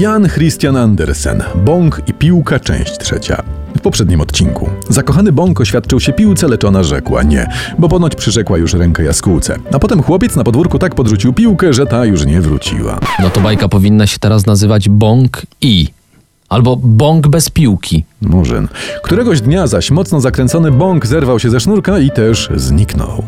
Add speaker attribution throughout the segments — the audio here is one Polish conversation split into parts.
Speaker 1: Jan Christian Andersen, Bąk i piłka, część trzecia. W poprzednim odcinku. Zakochany Bąk oświadczył się piłce, lecz ona rzekła nie, bo ponoć przyrzekła już rękę jaskółce. A potem chłopiec na podwórku tak podrzucił piłkę, że ta już nie wróciła.
Speaker 2: No to bajka powinna się teraz nazywać Bąk i. Albo Bąk bez piłki.
Speaker 1: Murzyn. Któregoś dnia zaś mocno zakręcony Bąk zerwał się ze sznurka i też zniknął.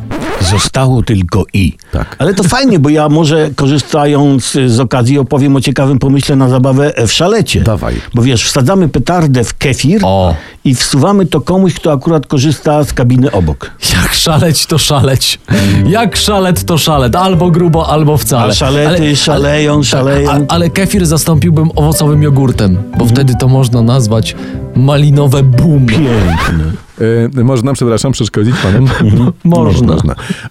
Speaker 3: Zostało tylko i.
Speaker 1: Tak.
Speaker 3: Ale to fajnie, bo ja może korzystając y, z okazji opowiem o ciekawym pomyśle na zabawę w szalecie.
Speaker 1: Dawaj.
Speaker 3: Bo wiesz, wsadzamy petardę w kefir
Speaker 2: O.
Speaker 3: i wsuwamy to komuś, kto akurat korzysta z kabiny obok.
Speaker 2: Jak szaleć, to szaleć. Jak szalet, to szalet. Albo grubo, albo wcale.
Speaker 3: A szalety szaleją, szaleją.
Speaker 2: A, ale kefir zastąpiłbym owocowym jogurtem, bo
Speaker 3: Mhm.
Speaker 2: wtedy to można nazwać malinowe boom.
Speaker 3: Piękne.
Speaker 1: Yy, można, przepraszam, przeszkodzić panom?
Speaker 2: Można.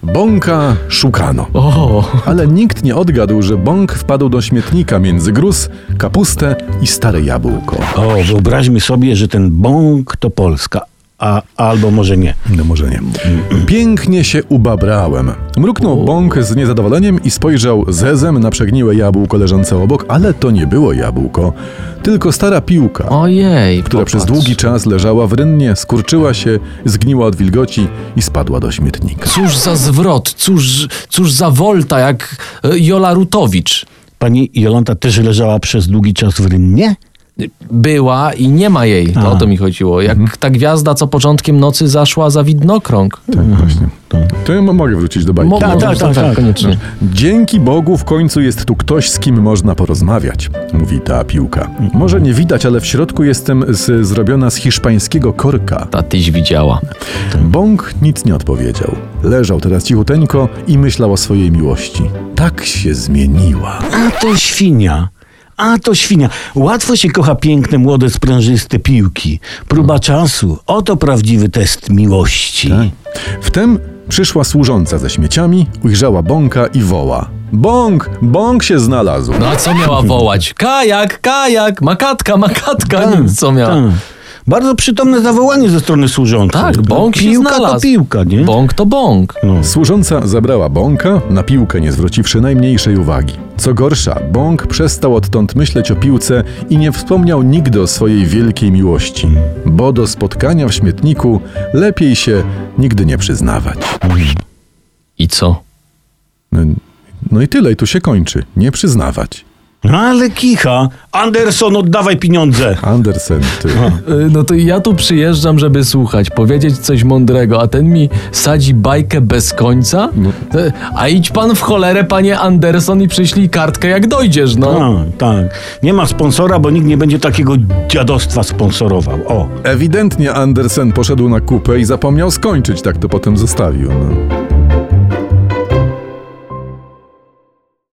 Speaker 1: Bąka szukano.
Speaker 2: O,
Speaker 1: Ale nikt nie odgadł, że bąk wpadł do śmietnika między gruz, kapustę i stare jabłko.
Speaker 3: O, wyobraźmy sobie, że ten bąk to Polska. A, albo może nie.
Speaker 1: No może nie. Pięknie się ubabrałem. Mruknął bąk z niezadowoleniem i spojrzał zezem na przegniłe jabłko leżące obok, ale to nie było jabłko, tylko stara piłka,
Speaker 2: ojej.
Speaker 1: która
Speaker 2: popatrz.
Speaker 1: przez długi czas leżała w rynnie, skurczyła się, zgniła od wilgoci i spadła do śmietnika.
Speaker 2: Cóż za zwrot, cóż, cóż za wolta, jak e, Jola Rutowicz.
Speaker 3: Pani Jolanta też leżała przez długi czas w rynnie?
Speaker 2: Była i nie ma jej. To
Speaker 3: A. Mhm.
Speaker 2: o to mi chodziło. Jak ta gwiazda, co początkiem nocy zaszła za widnokrąg.
Speaker 1: Tak właśnie. To ja mo- mogę wrócić do bajki.
Speaker 2: Mo-
Speaker 3: tak,
Speaker 2: może-
Speaker 3: tak, tak, tak.
Speaker 2: koniecznie.
Speaker 1: Dzięki Bogu w końcu jest tu ktoś, z kim można porozmawiać, mówi ta piłka. Może nie widać, ale w środku jestem z, zrobiona z hiszpańskiego korka.
Speaker 2: Ta tyś widziała.
Speaker 1: Bąk nic nie odpowiedział. Leżał teraz cichuteńko i myślał o swojej miłości. Tak się zmieniła.
Speaker 3: A to świnia. A to świnia. Łatwo się kocha piękne, młode, sprężyste piłki. Próba czasu. Oto prawdziwy test miłości.
Speaker 1: Wtem przyszła służąca ze śmieciami, ujrzała Bąka i woła. Bąk! Bąk się znalazł!
Speaker 2: No a co miała wołać? Kajak, kajak, makatka, makatka. Nic co miała.
Speaker 3: Tak. Bardzo przytomne zawołanie ze strony służącej.
Speaker 2: Tak, bąk się
Speaker 3: Piłka
Speaker 2: znalazł.
Speaker 3: to piłka, nie? No.
Speaker 2: Bąk to bąk.
Speaker 1: Służąca zabrała Bąka, na piłkę nie zwróciwszy najmniejszej uwagi. Co gorsza, Bąk przestał odtąd myśleć o piłce i nie wspomniał nigdy o swojej wielkiej miłości, bo do spotkania w śmietniku lepiej się nigdy nie przyznawać.
Speaker 2: I co?
Speaker 1: No, no i tyle, i tu się kończy. Nie przyznawać.
Speaker 3: Ale kicha. Anderson, oddawaj pieniądze.
Speaker 1: Andersen, ty.
Speaker 2: No to ja tu przyjeżdżam, żeby słuchać, powiedzieć coś mądrego, a ten mi sadzi bajkę bez końca?
Speaker 3: No.
Speaker 2: E, A idź pan w cholerę, panie Anderson, i przyślij kartkę, jak dojdziesz, no.
Speaker 3: Tak, tak. Nie ma sponsora, bo nikt nie będzie takiego dziadostwa sponsorował. O.
Speaker 1: Ewidentnie Andersen poszedł na kupę i zapomniał skończyć, tak to potem zostawił. No.